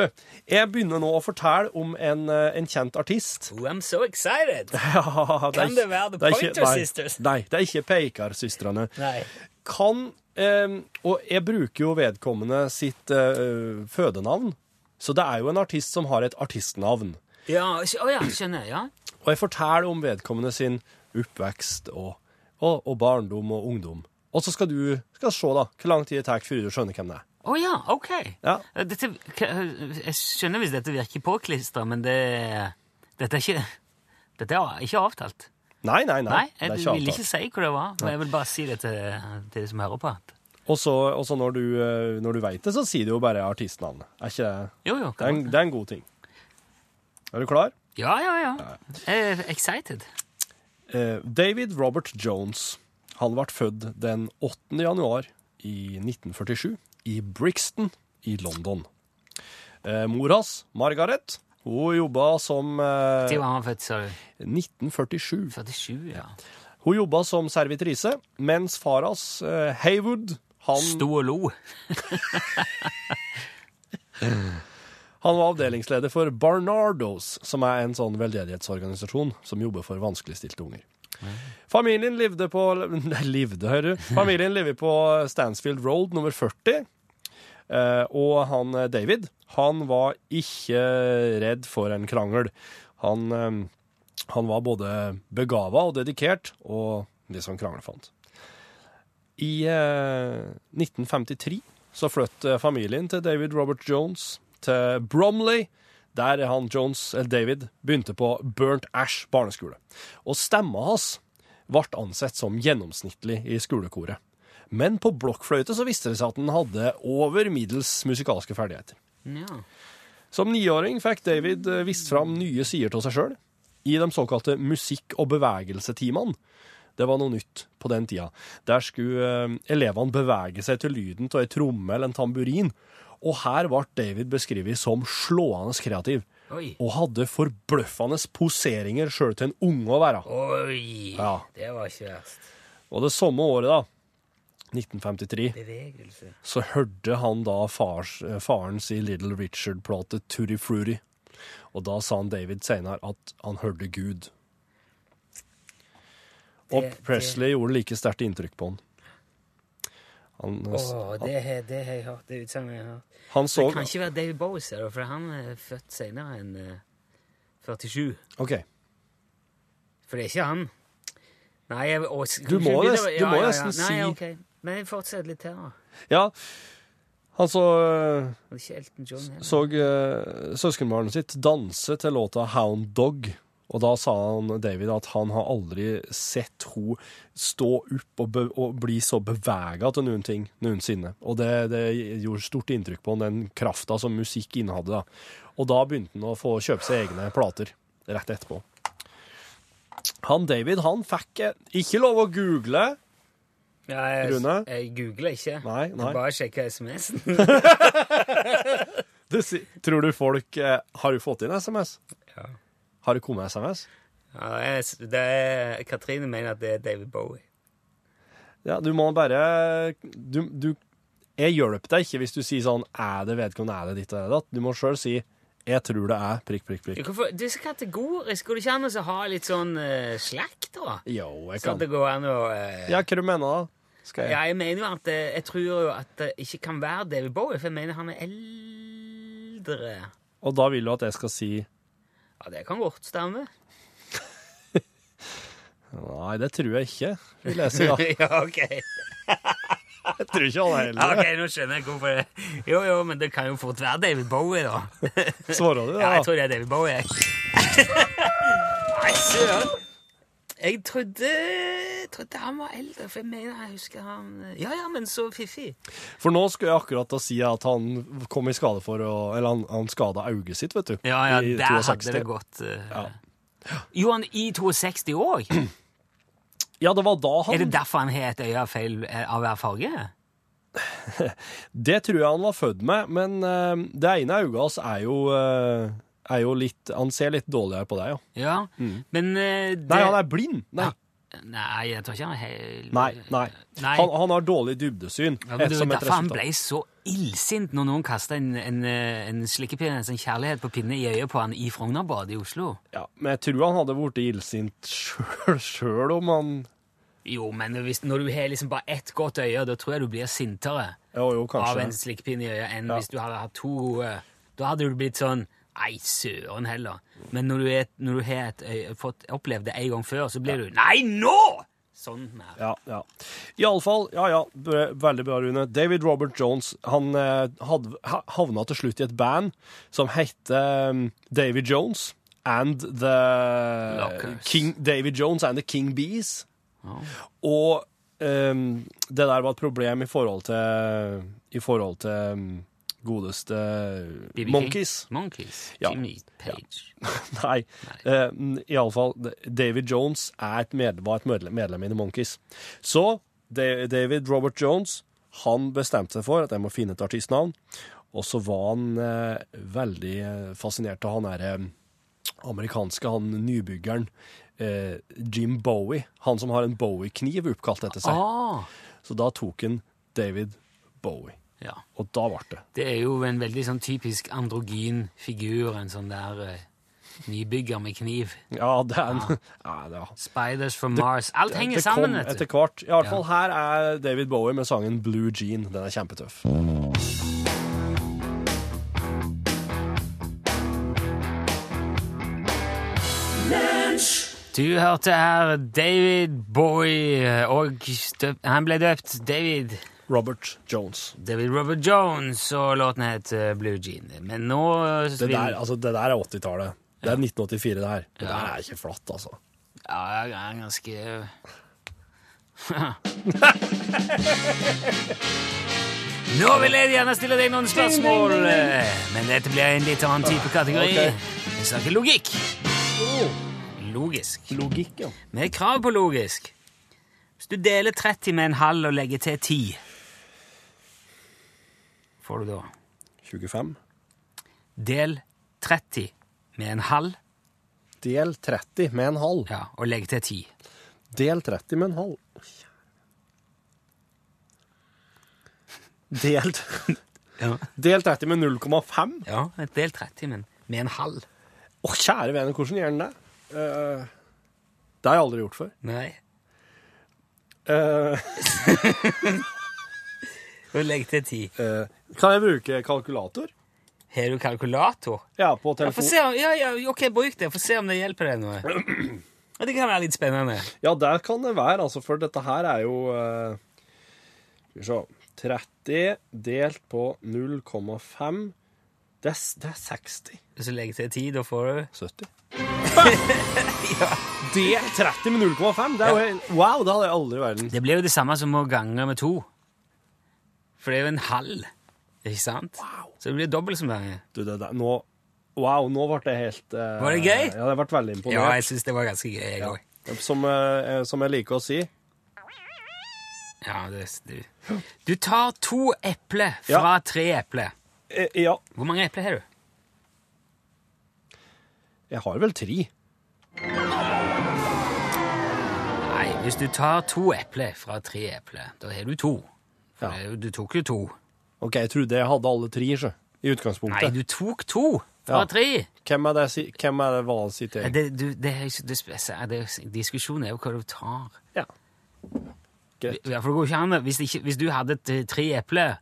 [SPEAKER 4] jeg begynner nå å fortelle om en, eh, en kjent artist.
[SPEAKER 3] Oh, I'm so excited!
[SPEAKER 4] Ja,
[SPEAKER 3] Kan
[SPEAKER 4] ikke-
[SPEAKER 3] det være The
[SPEAKER 4] er ikke-
[SPEAKER 3] Pointer
[SPEAKER 4] nei,
[SPEAKER 3] Sisters?
[SPEAKER 4] Nei, det er ikke Peikersøstrene.
[SPEAKER 3] Nei.
[SPEAKER 4] Kan ehm, Og jeg bruker jo vedkommende sitt eh, fødenavn, så det er jo en artist som har et artistnavn.
[SPEAKER 3] Ja, sk- å ja, skjønner. jeg, Ja.
[SPEAKER 4] Og jeg forteller om vedkommende sin oppvekst og, og, og barndom og ungdom. Og så skal du skal se da, hvor lang tid det tar før du skjønner hvem det er.
[SPEAKER 3] Å ja, ok. Eh,
[SPEAKER 4] Ja.
[SPEAKER 3] Dette, eh, jeg skjønner hvis dette virker påklistra, men det, dette er ikke dette er ikke avtalt.
[SPEAKER 4] Nei, nei, nei.
[SPEAKER 3] Nei,
[SPEAKER 4] det er
[SPEAKER 3] jeg
[SPEAKER 4] ikke
[SPEAKER 3] vil
[SPEAKER 4] avtalt.
[SPEAKER 3] ikke si hva det var. men Jeg vil bare si det til, til de som hører på. At,
[SPEAKER 4] Og så, og så når, du, eh, når du vet det, så sier du jo bare artistnavnet. Er ikke det?
[SPEAKER 3] jo, jo.
[SPEAKER 4] Det er, en, det er en god ting. Er du klar?
[SPEAKER 3] Ja, ja, ja. Jeg er excited.
[SPEAKER 4] Eh, David Robert Jones. Han ble født den 8. januar i 1947 i Brixton i London. Eh, mor hans, Margaret, hun jobba som eh,
[SPEAKER 3] Til han var født, sa du.
[SPEAKER 4] 1947.
[SPEAKER 3] 47, ja.
[SPEAKER 4] Hun jobba som servitrise, mens far hans, eh, Haywood, han,
[SPEAKER 3] Sto og lo.
[SPEAKER 4] han var avdelingsleder for Barnardos, som er en sånn veldedighetsorganisasjon som jobber for vanskeligstilte unger. Familien levde på Nei, levde, hører du. Familien lever på Stansfield Road nummer 40. Eh, og han eh, David, han var ikke redd for en krangel. Han eh, Han var både begava og dedikert, og litt sånn kranglefant. I eh, 1953 så fløt eh, familien til David Robert Jones til Bromley, der han Jones, eller David, begynte på Burnt Ash barneskole. Og stemma hans ble ansett som gjennomsnittlig i skolekoret. Men på blokkfløyte så viste det seg at han hadde over middels musikalske ferdigheter.
[SPEAKER 3] Ja.
[SPEAKER 4] Som niåring fikk David eh, vist fram nye sider av seg sjøl i de såkalte musikk- og bevegelsetimene. Det var noe nytt på den tida. Der skulle eh, elevene bevege seg til lyden av ei tromme eller en tamburin. Og her ble David beskrevet som slående kreativ,
[SPEAKER 3] Oi.
[SPEAKER 4] og hadde forbløffende poseringer sjøl til en unge å være.
[SPEAKER 3] Oi!
[SPEAKER 4] Ja.
[SPEAKER 3] Det var ikke verst.
[SPEAKER 4] Og det samme året, da, 1953,
[SPEAKER 3] Bevegelse.
[SPEAKER 4] så hørte han da fars, eh, faren si Little Richard-plate Tutti Frutti. Og da sa han David senere at han hørte Gud. Og
[SPEAKER 3] Det- det-
[SPEAKER 4] Presley gjorde like sterkt inntrykk på han. Han, eh,
[SPEAKER 3] Å,
[SPEAKER 4] s-
[SPEAKER 3] det har det har jeg hørt. Det utsagnet jeg har hørt.
[SPEAKER 4] han
[SPEAKER 3] Det
[SPEAKER 4] så
[SPEAKER 3] kan ikke være David Bowie, ser du, for han er født senere enn eh, 47.
[SPEAKER 4] Ok,
[SPEAKER 3] For det er ikke han. Nei, jeg, og,
[SPEAKER 4] Du må
[SPEAKER 3] Ja,
[SPEAKER 4] nesten- du må
[SPEAKER 3] ja, ja.
[SPEAKER 4] nesten si-
[SPEAKER 3] Nei, ok. Men fortsett litt her, da.
[SPEAKER 4] Ja. Han så, eh,
[SPEAKER 3] Det er ikke Elton John heller.
[SPEAKER 4] så eh, søskenbarnet sitt danse til låta Hound Dog. Og da sa han David at han har aldri sett ho stå opp og, be, og bli så bevega til noen ting noensinne. Og det, det gjorde stort inntrykk på han, den krafta som musikk innehadde. da. Og da begynte han å få kjøpe seg egne plater rett etterpå. Han David han fikk eh, ikke lov å google.
[SPEAKER 3] Ja, jeg,
[SPEAKER 4] Rune?
[SPEAKER 3] Jeg googler ikke.
[SPEAKER 4] Nei,
[SPEAKER 3] Jeg
[SPEAKER 4] nei.
[SPEAKER 3] Bare sjekker SMS-en.
[SPEAKER 4] Det, si- tror du folk eh, Har du fått inn SMS?
[SPEAKER 3] Ja.
[SPEAKER 4] Har det kommet SMS?
[SPEAKER 3] Ja, jeg, det er, Katrine mener at det er David Bowie.
[SPEAKER 4] Ja, du må bare du, du, Jeg hjelper deg ikke hvis du sier sånn Er det vedkommende, er det ditt og datt? Du må sjøl si Jeg tror det er prikk, prikk,
[SPEAKER 3] Ja,
[SPEAKER 4] prikk.
[SPEAKER 3] Hvorfor, du er så kategorisk. Går det ikke an å så ha litt sånn uh, slakk, da?
[SPEAKER 4] Jo, jeg
[SPEAKER 3] Så
[SPEAKER 4] kan
[SPEAKER 3] at det går an å eh,
[SPEAKER 4] Ja, hva du mener da? Skal
[SPEAKER 3] Ja, jeg
[SPEAKER 4] jeg
[SPEAKER 3] mener jo at eh, Jeg tror jo at det ikke kan være David Bowie, for jeg mener han er eldre.
[SPEAKER 4] Og da vil du at jeg skal si
[SPEAKER 3] Ja, det kan godt stemme.
[SPEAKER 4] Nei, det tror jeg ikke. Vi leser, da.
[SPEAKER 3] ja, ok.
[SPEAKER 4] Jeg tror ikke han er
[SPEAKER 3] Ja,
[SPEAKER 4] heller.
[SPEAKER 3] ok, Nå skjønner jeg hvorfor det Jo, jo, men det kan jo fort være David Bowie, da.
[SPEAKER 4] Svarer du,
[SPEAKER 3] Ja, jeg
[SPEAKER 4] da?
[SPEAKER 3] tror det er David Bowie. jeg. Nei, søren! Jeg trodde, trodde han var eldre, for jeg mener jeg husker han eh, Ja, ja, men så fiffig.
[SPEAKER 4] For nå skulle jeg akkurat da si at han kom i skade for å Eller han, han skada øyet sitt, vet du.
[SPEAKER 3] Ja, ja,
[SPEAKER 4] i
[SPEAKER 3] der
[SPEAKER 4] 62.
[SPEAKER 3] hadde det gått eh. Jo, han i 62 òg?
[SPEAKER 4] Ja, det var da
[SPEAKER 3] Er det
[SPEAKER 4] han
[SPEAKER 3] derfor han har et øye av feil eh, av hver farge?
[SPEAKER 4] Det tror jeg han var født med, men eh, det ene øyet hans er jo eh, er jo litt, Han ser litt dårligere på deg, ja.
[SPEAKER 3] Ja, men eh, det,
[SPEAKER 4] Mm. Nei, han er blind! Nei,
[SPEAKER 3] Nei, jeg tror ikke han er helt
[SPEAKER 4] nei. nei.
[SPEAKER 3] Nei.
[SPEAKER 4] Han, han har dårlig dybdesyn.
[SPEAKER 3] Ja, men det
[SPEAKER 4] eh,
[SPEAKER 3] var
[SPEAKER 4] som et
[SPEAKER 3] derfor han
[SPEAKER 4] resultat.
[SPEAKER 3] ble så illsint når noen kasta en, en, eh, en slikkepinne, en sånn kjærlighet på pinne i øyet på han i Frognerbadet i Oslo.
[SPEAKER 4] Ja, men jeg tror han hadde blitt illsint sjøl- sjøl om han
[SPEAKER 3] Jo, men hvis, når du har liksom bare ett godt øye, da tror jeg du blir sintere
[SPEAKER 4] Jo, jo,
[SPEAKER 3] av
[SPEAKER 4] kanskje.
[SPEAKER 3] en slikkepinne i øyet enn
[SPEAKER 4] Ja.
[SPEAKER 3] hvis du hadde hatt to gode. Da hadde du blitt sånn Nei, søren heller. Men når du, er, når du har et øye, fått opplevd det en gang før, så blir du Nei, nå! Sånn mer.
[SPEAKER 4] Ja, ja. Iallfall, ja ja, br- veldig bra, Rune. David Robert Jones han eh, hadde, ha- havna til slutt i et band som heter um, David Jones and the
[SPEAKER 3] Lockers.
[SPEAKER 4] King, David Jones and the King Bees. Og ehm, det der var et problem i forhold til I forhold til um, godeste
[SPEAKER 3] BB King.
[SPEAKER 4] Monkeys.
[SPEAKER 3] Monkeys.
[SPEAKER 4] Ja.
[SPEAKER 3] Jimmy Page.
[SPEAKER 4] Nei. Uh, Iallfall, David Jones er et medlem, var et medlem, medlem i The Monkees. Så Da- David Robert Jones han bestemte seg for at jeg må finne et artistnavn. Og så var han eh, veldig eh, fascinert av han derre amerikanske, han nybyggeren eh, Jim Bowie. Han som har en Bowie-kniv oppkalt etter seg.
[SPEAKER 3] Ah,
[SPEAKER 4] Så da tok han David Bowie.
[SPEAKER 3] ja.
[SPEAKER 4] Og da ble det.
[SPEAKER 3] Det er jo en veldig sånn typisk androgyn figur, en sånn der eh, nybygger med kniv.
[SPEAKER 4] Ja, det er en Ah. Ja, det var
[SPEAKER 3] Spiders from Mars. Alt henger
[SPEAKER 4] det
[SPEAKER 3] sammen,
[SPEAKER 4] kom
[SPEAKER 3] vet
[SPEAKER 4] etter
[SPEAKER 3] du.
[SPEAKER 4] hvert. I alle fall her er David Bowie med sangen Blue Jean. Den er kjempetøff.
[SPEAKER 3] Du hørte her David Bowie eh, og støp, Han ble døpt David
[SPEAKER 4] Robert Jones.
[SPEAKER 3] David Robert Jones, og låten het eh, Blue Jean. Men nå eh,
[SPEAKER 4] Det
[SPEAKER 3] vil-
[SPEAKER 4] der, altså, det der er 80-tallet. Det er 1984, det her. Det der er ikke flatt, altså.
[SPEAKER 3] Ja, jeg er ganske eh, Nå vil jeg gjerne stille deg noen spørsmål, eh, men dette blir en litt annen type kategori.
[SPEAKER 4] ok. Oh.
[SPEAKER 3] Vi snakker logikk. Logisk.
[SPEAKER 4] Logikk, ja.
[SPEAKER 3] Med krav på logisk. Hvis du deler 30 med en halv og legger til 10, får du da
[SPEAKER 4] 25.
[SPEAKER 3] Del 30 med en halv
[SPEAKER 4] Del 30 med en halv.
[SPEAKER 3] ja, og legg til 10.
[SPEAKER 4] Del 30 med en halv. Del,
[SPEAKER 3] Ja.
[SPEAKER 4] del 30 med 0,5?
[SPEAKER 3] ja, del 30 men med en halv.
[SPEAKER 4] Å, kjære vene, hvordan gjør den det? Eh, det har jeg aldri gjort før.
[SPEAKER 3] Nei.
[SPEAKER 4] Eh,
[SPEAKER 3] Og legg til 10.
[SPEAKER 4] eh, kan jeg bruke kalkulator?
[SPEAKER 3] Har du kalkulator?
[SPEAKER 4] Ja, på
[SPEAKER 3] Ja, Få
[SPEAKER 4] telefon.
[SPEAKER 3] se, om- ja, ja, ok, bruk det. Få se om det hjelper deg noe. Ja, det kan være litt spennende.
[SPEAKER 4] Ja, der kan det være, altså, for dette her er jo eh, Skal vi se 30 delt på 0,5 det, er s- det er 60.
[SPEAKER 3] Hvis du legger til 10, da får du
[SPEAKER 4] 70. Det er 30 med 0,5! Det er jo helt- Wow, det hadde jeg aldri i verden.
[SPEAKER 3] Det blir jo det samme som å gange med to. For det er jo en halv, ikke sant? Så det blir dobbelt så mange.
[SPEAKER 4] Du, det der, nå, wow, nå ble det helt eh,
[SPEAKER 3] Var det gøy?
[SPEAKER 4] Ja, jeg ble veldig imponert.
[SPEAKER 3] Ja, jeg syns det var ganske gøy. Jeg òg.
[SPEAKER 4] Som, eh, som jeg liker å si.
[SPEAKER 3] Ja, det, du. du tar to epler
[SPEAKER 4] Ja.
[SPEAKER 3] fra tre epler.
[SPEAKER 4] Eh, ja.
[SPEAKER 3] Hvor mange epler har du?
[SPEAKER 4] Jeg har vel tre.
[SPEAKER 3] Nei, hvis du tar to epler fra tre epler, da har du to. For
[SPEAKER 4] Ja.
[SPEAKER 3] det er jo- du tok jo to.
[SPEAKER 4] OK, jeg trodde jeg hadde alle tre, sjø. I
[SPEAKER 3] Nei,
[SPEAKER 4] utgangspunktet.
[SPEAKER 3] du tok to fra
[SPEAKER 4] Ja.
[SPEAKER 3] tre!
[SPEAKER 4] Hvem er det, si- hvem er det hva
[SPEAKER 3] Ja,
[SPEAKER 4] sitter jeg?
[SPEAKER 3] Det, du, det, er ikke- det, spes- er det, diskusjonen er jo hva du tar.
[SPEAKER 4] Ja. Greit.
[SPEAKER 3] Ja, for det går ikke an. Hvis, det ikke, hvis du hadde t- tre epler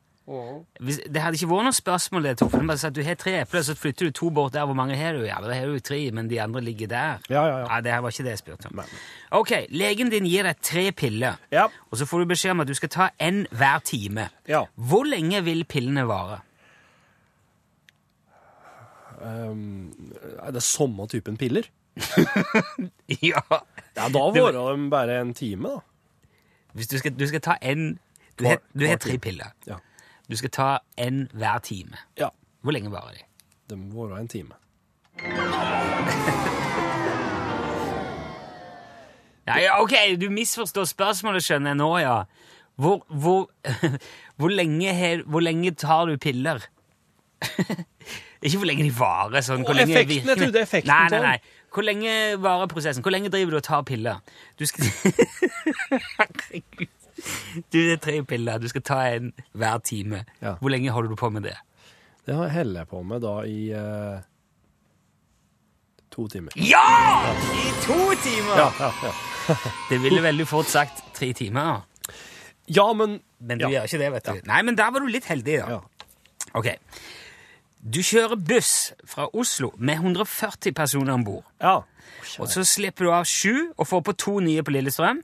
[SPEAKER 3] hvis, Det hadde ikke vært noe spørsmål. det, Torfinn. Bare si at Du har tre epler, så flytter du to bort der. Hvor mange har du? Ja, da har du tre, men de andre ligger der.
[SPEAKER 4] Ja, ja, ja.
[SPEAKER 3] det her var ikke det jeg spurte om.
[SPEAKER 4] Nei.
[SPEAKER 3] Ok, Legen din gir deg tre piller,
[SPEAKER 4] Ja.
[SPEAKER 3] og så får du beskjed om at du skal ta én hver time.
[SPEAKER 4] Ja.
[SPEAKER 3] Hvor lenge vil pillene vare?
[SPEAKER 4] Er det samme typen piller?
[SPEAKER 3] ja,
[SPEAKER 4] Ja, da
[SPEAKER 3] Det var-
[SPEAKER 4] varer de bare en time, da.
[SPEAKER 3] hvis Du skal, du skal ta én Du
[SPEAKER 4] Hver-
[SPEAKER 3] har du har
[SPEAKER 4] hver
[SPEAKER 3] tre
[SPEAKER 4] time.
[SPEAKER 3] piller.
[SPEAKER 4] Ja.
[SPEAKER 3] Du skal ta én hver time.
[SPEAKER 4] ja.
[SPEAKER 3] Hvor lenge varer de?
[SPEAKER 4] De varer en time.
[SPEAKER 3] Nei, ja, ok, du misforstår spørsmålet, skjønner jeg nå, ja. Hvor, hvor, hvor, lenge, he- hvor lenge tar du piller? Ikke hvor lenge de varer. sånn.
[SPEAKER 4] Å,
[SPEAKER 3] Hvor lenge
[SPEAKER 4] effekten, jeg
[SPEAKER 3] virkene-
[SPEAKER 4] trodde effekten
[SPEAKER 3] Nei, nei,
[SPEAKER 4] tar.
[SPEAKER 3] nei. Hvor lenge varer prosessen? Hvor lenge driver du og tar piller? Du skal... Herregud. Du det er tre piller, du skal ta en hver time.
[SPEAKER 4] Ja.
[SPEAKER 3] Hvor lenge holder du på med det?
[SPEAKER 4] Det har- holder jeg på med da i eh, to timer.
[SPEAKER 3] Ja! I to timer!
[SPEAKER 4] Ja, ja, ja.
[SPEAKER 3] Det ville veldig fort sagt tre timer,
[SPEAKER 4] ja men
[SPEAKER 3] men du
[SPEAKER 4] ja.
[SPEAKER 3] gjør ikke det, vet du. Nei, men der var du litt heldig, da.
[SPEAKER 4] Ja.
[SPEAKER 3] Ok. Du kjører buss fra Oslo med 140 personer om bord.
[SPEAKER 4] ja.
[SPEAKER 3] Og så slipper du av sju og får på to nye på Lillestrøm.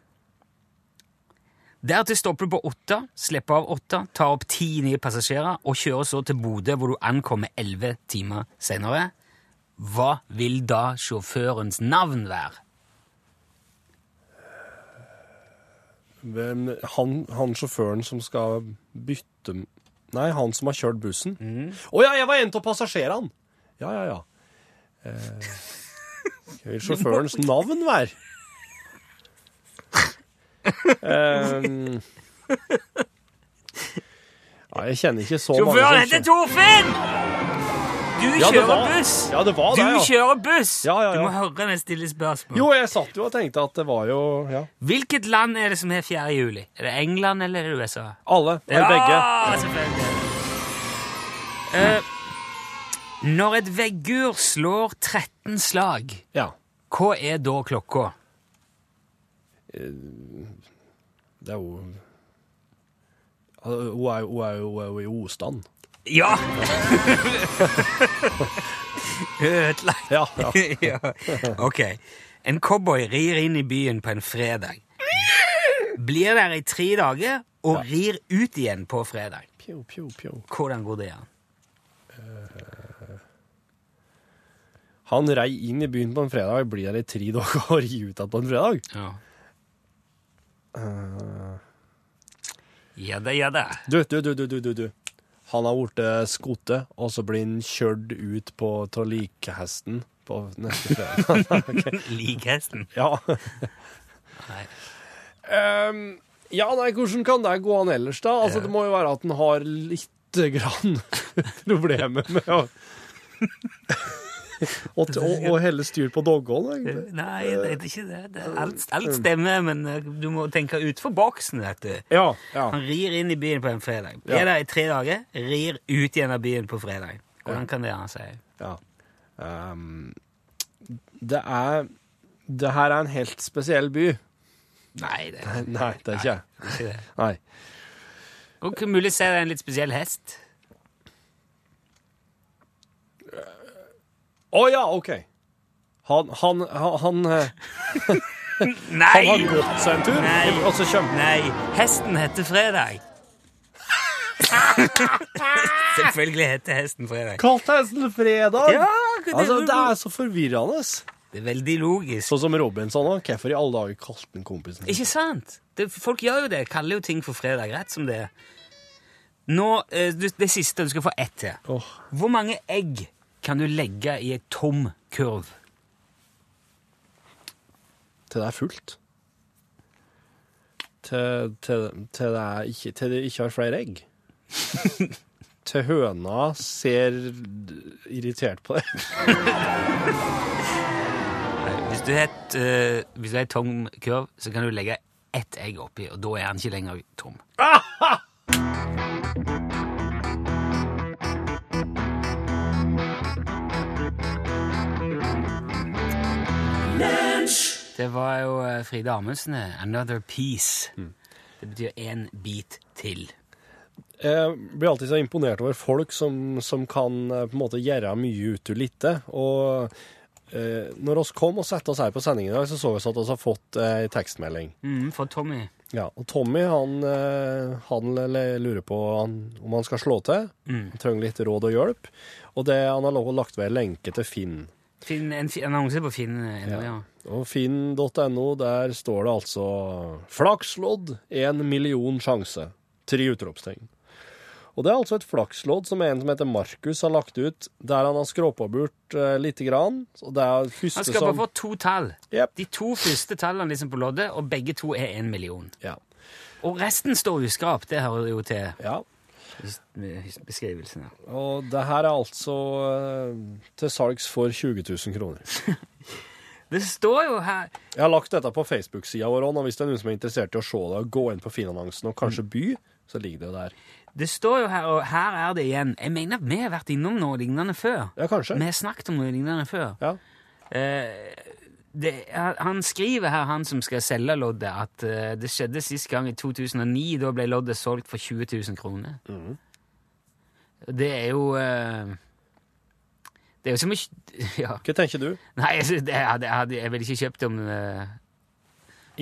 [SPEAKER 3] Dertil stopper du på åtte, slipper av åtte, tar opp ti nye passasjerer og kjører så til Bodø, hvor du ankommer elleve timer senere. Hva vil da sjåførens navn være?
[SPEAKER 4] Hvem- Han, han sjåføren som skal bytte Nei, han som har kjørt bussen. Å
[SPEAKER 3] Mm.
[SPEAKER 4] ja, jeg var en av passasjerene! Ja, ja, ja. Eh, hva vil sjåførens navn være? Eh, ja, jeg kjenner ikke så mange
[SPEAKER 3] Sjåføren heter Torfinn! Du
[SPEAKER 4] Ja, det
[SPEAKER 3] kjører
[SPEAKER 4] var-
[SPEAKER 3] buss!
[SPEAKER 4] ja, det var
[SPEAKER 3] du
[SPEAKER 4] det, ja.
[SPEAKER 3] kjører buss!
[SPEAKER 4] Ja, ja,
[SPEAKER 3] Du
[SPEAKER 4] ja.
[SPEAKER 3] må høre meg stille spørsmål.
[SPEAKER 4] Jo, jeg satt jo og tenkte at det var jo ja.
[SPEAKER 3] Hvilket land er det som har 4. juli? Er det England eller er det USA?
[SPEAKER 4] Alle. Eller begge.
[SPEAKER 3] selvfølgelig. Eh, når et veggur slår 13 slag,
[SPEAKER 4] Ja.
[SPEAKER 3] hva er da klokka?
[SPEAKER 4] Det er jo Hun er jo- hun er jo hun er jo i ostand.
[SPEAKER 3] Ja! Ødelagt.
[SPEAKER 4] Ja, ja.
[SPEAKER 3] ja. Ok. En cowboy rir inn i byen på en fredag. Blir der i tre dager og rir ut igjen på fredag.
[SPEAKER 4] Pjo, pjo, pjo.
[SPEAKER 3] Hvordan går det an?
[SPEAKER 4] Han rei inn i byen på en fredag, blir der i tre dager og ri ut igjen på en fredag.
[SPEAKER 3] Ja. Eh. ja da, ja da.
[SPEAKER 4] Du, du, du, du, du, du. du. Han har blitt skutt, og så blir han kjørt ut på av likhesten på neste fredag.
[SPEAKER 3] Lik hesten.
[SPEAKER 4] ja.
[SPEAKER 3] Nei.
[SPEAKER 4] Ehm, ja, nei, hvordan kan det gå an ellers, da? Altså, Det må jo være at han har lite grann problemer med å og, og, og helle styr på doggene, egentlig.
[SPEAKER 3] Nei, det er ikke det. det er alt, alt stemmer, men eh, du må tenke utenfor boksen, vet du.
[SPEAKER 4] Ja, ja.
[SPEAKER 3] Han rir inn i byen på en fredag. Blir
[SPEAKER 4] Ja.
[SPEAKER 3] der i tre dager, rir ut igjen av byen på fredag. Hvordan kan det an seg?
[SPEAKER 4] Ja. Ehm, det er Det her er en helt spesiell by.
[SPEAKER 3] Nei, det er
[SPEAKER 4] Nei, det er ikke jeg.
[SPEAKER 3] ikke det.
[SPEAKER 4] Nei.
[SPEAKER 3] Og kan mulig se en litt spesiell hest.
[SPEAKER 4] Å ja, OK. Han Han, han, han, eh, han har
[SPEAKER 3] Nei!
[SPEAKER 4] gått seg en tur,
[SPEAKER 3] Nei.
[SPEAKER 4] og så kommer
[SPEAKER 3] Nei, hesten heter Fredag. Selvfølgelig heter hesten Fredag.
[SPEAKER 4] Kalt hesten fredag!
[SPEAKER 3] Ja, det,
[SPEAKER 4] Altså, det er så forvirrende.
[SPEAKER 3] det er veldig logisk.
[SPEAKER 4] Sånn som Robinson òg. Hvorfor i alle dager kalte han kompisen sin
[SPEAKER 3] Ikke sant? Det, folk gjør jo det. Kaller jo ting for Fredag, rett som det er. Nå, eh, du, Det siste. Du skal få ett til.
[SPEAKER 4] Åh.
[SPEAKER 3] Hvor mange egg kan du legge i en tom kurv?
[SPEAKER 4] til det er fullt? Til, til, til, det er ikke, til det ikke har flere egg? til høna ser irritert på det.
[SPEAKER 3] Hvis du het, eh, hvis du har en tom kurv, så kan du legge ett egg oppi, og da er han ikke lenger tom. Det var jo eh, Frida Amundsen, eh, 'Another Piece'. Det betyr én bit til.
[SPEAKER 4] Jeg blir alltid så imponert over folk som, som kan eh, på en måte gjøre mye ut av lite. Og eh, når oss kom og satte oss her på sendingen i dag, så så vi at vi har fått ei tekstmelding.
[SPEAKER 3] Mm, for Tommy.
[SPEAKER 4] Ja, og Tommy han, eh, han l- lurer på han, om han skal slå til.
[SPEAKER 3] Mm.
[SPEAKER 4] Han trenger litt råd og hjelp. Og det, han har lov- lagt ved en lenke til Finn.
[SPEAKER 3] Finn, en fi- annonse på Finn. eh, ennå, ja.
[SPEAKER 4] Og finn.no, der står det altså 'Flakslodd én million sjanse'. Tre utropstegn. Og det er altså et flakslodd som en som heter Markus har lagt ut, der han har skråpåburt eh, lite grann. Og det er
[SPEAKER 3] Han
[SPEAKER 4] første
[SPEAKER 3] skal
[SPEAKER 4] som
[SPEAKER 3] bare få to tall.
[SPEAKER 4] Jep.
[SPEAKER 3] De to første tallene liksom på loddet, og begge to er én million.
[SPEAKER 4] Ja.
[SPEAKER 3] Og resten står uskrapt. Det hører jo til
[SPEAKER 4] ja.
[SPEAKER 3] his- beskrivelsen. her.
[SPEAKER 4] Og det her er altså eh, til salgs for 20 000 kroner.
[SPEAKER 3] Det står jo her
[SPEAKER 4] Jeg har lagt dette på Facebook-sida vår òg, og hvis det er noen som er interessert i å se det, gå inn på Finannonsen og kanskje by, så ligger det jo der.
[SPEAKER 3] Det står jo her, og her er det igjen. Jeg mener at vi har vært innom noe lignende før.
[SPEAKER 4] Ja, kanskje.
[SPEAKER 3] Vi har snakket om noe lignende før.
[SPEAKER 4] Ja.
[SPEAKER 3] Eh, det, han han skriver her, han som skal selge loddet, at eh, det skjedde sist gang i 2009. Da ble loddet solgt for 20 000 kroner. Det er jo eh, Det er jo som å kj- ja.
[SPEAKER 4] Hva tenker du?
[SPEAKER 3] Nei, altså, det, jeg, hadde, jeg, hadde, jeg ville ikke kjøpt om eh,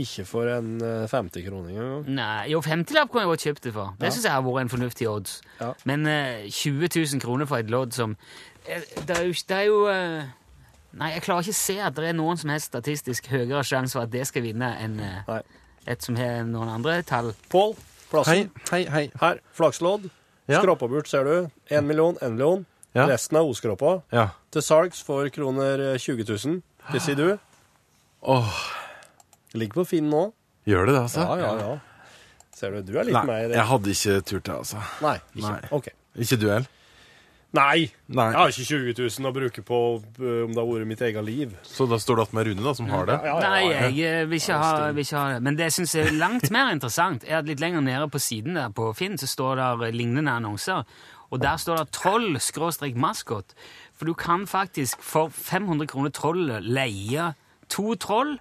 [SPEAKER 4] Ikke for en eh, 50-kroning engang.
[SPEAKER 3] Nei, Jo, 50-lapp kunne jeg godt kjøpt det for. Det synes jeg har vært en fornuftig odds.
[SPEAKER 4] Ja.
[SPEAKER 3] Men eh, 20 000 kroner for et lodd som eh, Det er jo ikke det er jo, eh, Nei, jeg klarer ikke å se at det er noen som helst statistisk høyere sjanse for at det skal vinne enn eh,
[SPEAKER 4] Nei.
[SPEAKER 3] et som har noen andre tall.
[SPEAKER 4] Pål,
[SPEAKER 5] Hei,
[SPEAKER 4] plassen.
[SPEAKER 5] hei, hei.
[SPEAKER 4] Her. Flakslodd.
[SPEAKER 5] Ja.
[SPEAKER 4] Skråpåburt, ser du. Én million, én million.
[SPEAKER 5] Ja.
[SPEAKER 4] Resten er oskråpa.
[SPEAKER 5] Ja.
[SPEAKER 4] Til salgs for kroner eh, 20 000. Hva sier du?
[SPEAKER 5] Åh,
[SPEAKER 4] Ligger på Finn nå.
[SPEAKER 5] gjør det det, altså?
[SPEAKER 4] Ja, ja, ja. Ser du, du er litt
[SPEAKER 5] Nei,
[SPEAKER 4] mer
[SPEAKER 5] jeg hadde ikke turt det, altså.
[SPEAKER 4] Nei, ikke.
[SPEAKER 5] Nei.
[SPEAKER 4] OK.
[SPEAKER 5] Ikke du heller?
[SPEAKER 4] Nei!
[SPEAKER 5] Nei.
[SPEAKER 4] Jeg har ikke 20 000 å bruke på eh, om det har vært mitt eget liv.
[SPEAKER 5] Så da står det at med Rune, da, som har det?
[SPEAKER 4] Ja, ja,
[SPEAKER 3] Nei,
[SPEAKER 4] ja.
[SPEAKER 3] jeg eh, vil ikke ha, vil ikke ha det. Men det jeg syns er langt mer interessant, er at litt lenger nede på siden der på Finn så står det lignende annonser. Og der står det 'troll-maskot'. For du kan faktisk for 500 kroner trollet leie to troll.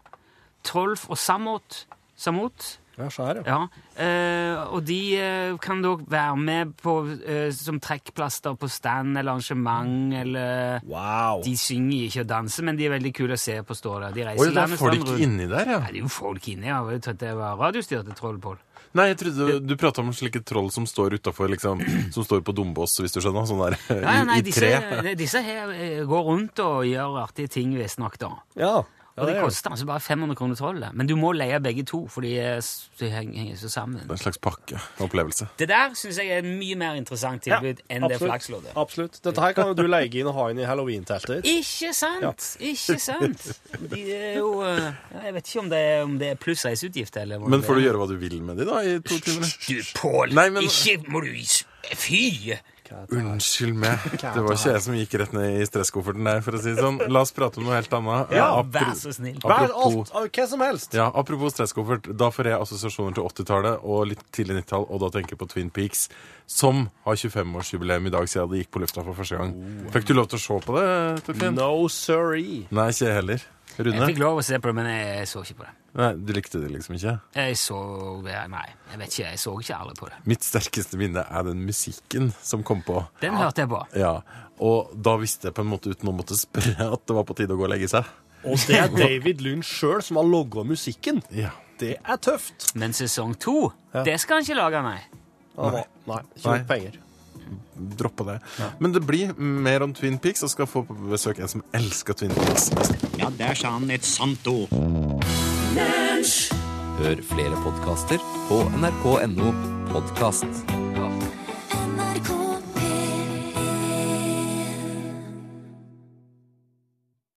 [SPEAKER 3] Troll og Samot. Samot.
[SPEAKER 4] Ja, så her, ja.
[SPEAKER 3] Ja, eh, og de eh, kan da være med på, eh, som trekkplaster på stand eller arrangement, eller
[SPEAKER 4] Wow.
[SPEAKER 3] De synger ikke og danser, men de er veldig kule å se på, står det. De reiser
[SPEAKER 5] Oi, det er
[SPEAKER 3] land og strand
[SPEAKER 5] folk
[SPEAKER 3] rundt.
[SPEAKER 5] inni der, ja.
[SPEAKER 3] Nei, det er jo folk inni, ja. Jeg trodde det var radiostyrte trollpoll.
[SPEAKER 5] Nei, jeg trodde du prata om slike troll som står utafor, liksom. Som står på dombås, hvis du skjønner. Sånn der i,
[SPEAKER 3] Nei, nei,
[SPEAKER 5] i
[SPEAKER 3] disse,
[SPEAKER 5] tre.
[SPEAKER 3] nei, disse her eh, går rundt og gjør artige ting, visstnok, da.
[SPEAKER 4] Ja.
[SPEAKER 3] Og
[SPEAKER 4] ja
[SPEAKER 3] det
[SPEAKER 4] det er. det.
[SPEAKER 3] koster altså bare 500 kroner trollet. Men du må leie begge to, for de er s- de heng- henger så sammen.
[SPEAKER 5] Det er en slags pakkeopplevelse.
[SPEAKER 3] Det der syns jeg er et mye mer interessant tilbud enn det
[SPEAKER 4] absolutt.
[SPEAKER 3] flaksloddet.
[SPEAKER 4] Absolutt. Dette her kan jo du leie inn og ha inn i halloween-teltet ditt.
[SPEAKER 3] Ikke sant! Ikke sant! De er jo eh, Jeg vet ikke om det er, om det er pluss reiseutgift, eller om
[SPEAKER 5] Men
[SPEAKER 3] det
[SPEAKER 5] får du
[SPEAKER 3] er-
[SPEAKER 5] gjøre hva du vil med de, da, i to timer?
[SPEAKER 3] Du, Pål!
[SPEAKER 5] Nei, men-
[SPEAKER 3] Ikke må du is- Fy!
[SPEAKER 5] Unnskyld meg. Det var ikke jeg som gikk rett ned i stresskofferten der, for å si det sånn. La oss prate om noe helt annet.
[SPEAKER 4] Ja,
[SPEAKER 5] Apro-
[SPEAKER 3] Vær så snill.
[SPEAKER 4] Vær
[SPEAKER 5] Apropos-
[SPEAKER 4] alt, av hva som helst.
[SPEAKER 5] Ja, Apropos stresskoffert, da får jeg assosiasjoner til 80-tallet og litt tidlig 90-tall, og da tenker jeg på Twin Peaks, som har 25-årsjubileum i dag siden det gikk på lufta for første gang.
[SPEAKER 3] Oh.
[SPEAKER 5] Fikk du lov til å se på det, Torfinn?
[SPEAKER 4] No sorry.
[SPEAKER 5] Nei, ikke jeg heller.
[SPEAKER 3] Jeg
[SPEAKER 5] Rune?
[SPEAKER 3] fikk lov å se på det, men jeg så ikke på det.
[SPEAKER 5] Nei, Du likte det liksom ikke?
[SPEAKER 3] Jeg så Nei, jeg vet ikke. Jeg så ikke alle på det.
[SPEAKER 5] Mitt sterkeste minne er den musikken som kom på.
[SPEAKER 3] Den hørte jeg på.
[SPEAKER 5] Ja, Og da visste jeg på en måte uten å måtte spørre at det var på tide å gå og legge seg.
[SPEAKER 4] Og det er David Lund sjøl som har logga musikken.
[SPEAKER 5] Ja.
[SPEAKER 4] Det er tøft.
[SPEAKER 3] Men sesong to, det skal han ikke lage, nei.
[SPEAKER 4] Han var- Nei, ikke nok
[SPEAKER 5] Nei.
[SPEAKER 4] penger.
[SPEAKER 5] Droppe det. Men det blir mer om Twin Peaks, og skal få på besøk en som elsker Twin Peaks.
[SPEAKER 6] Ja, der sa han et sant ord.
[SPEAKER 7] Hør flere podkaster på nrk.no podkast.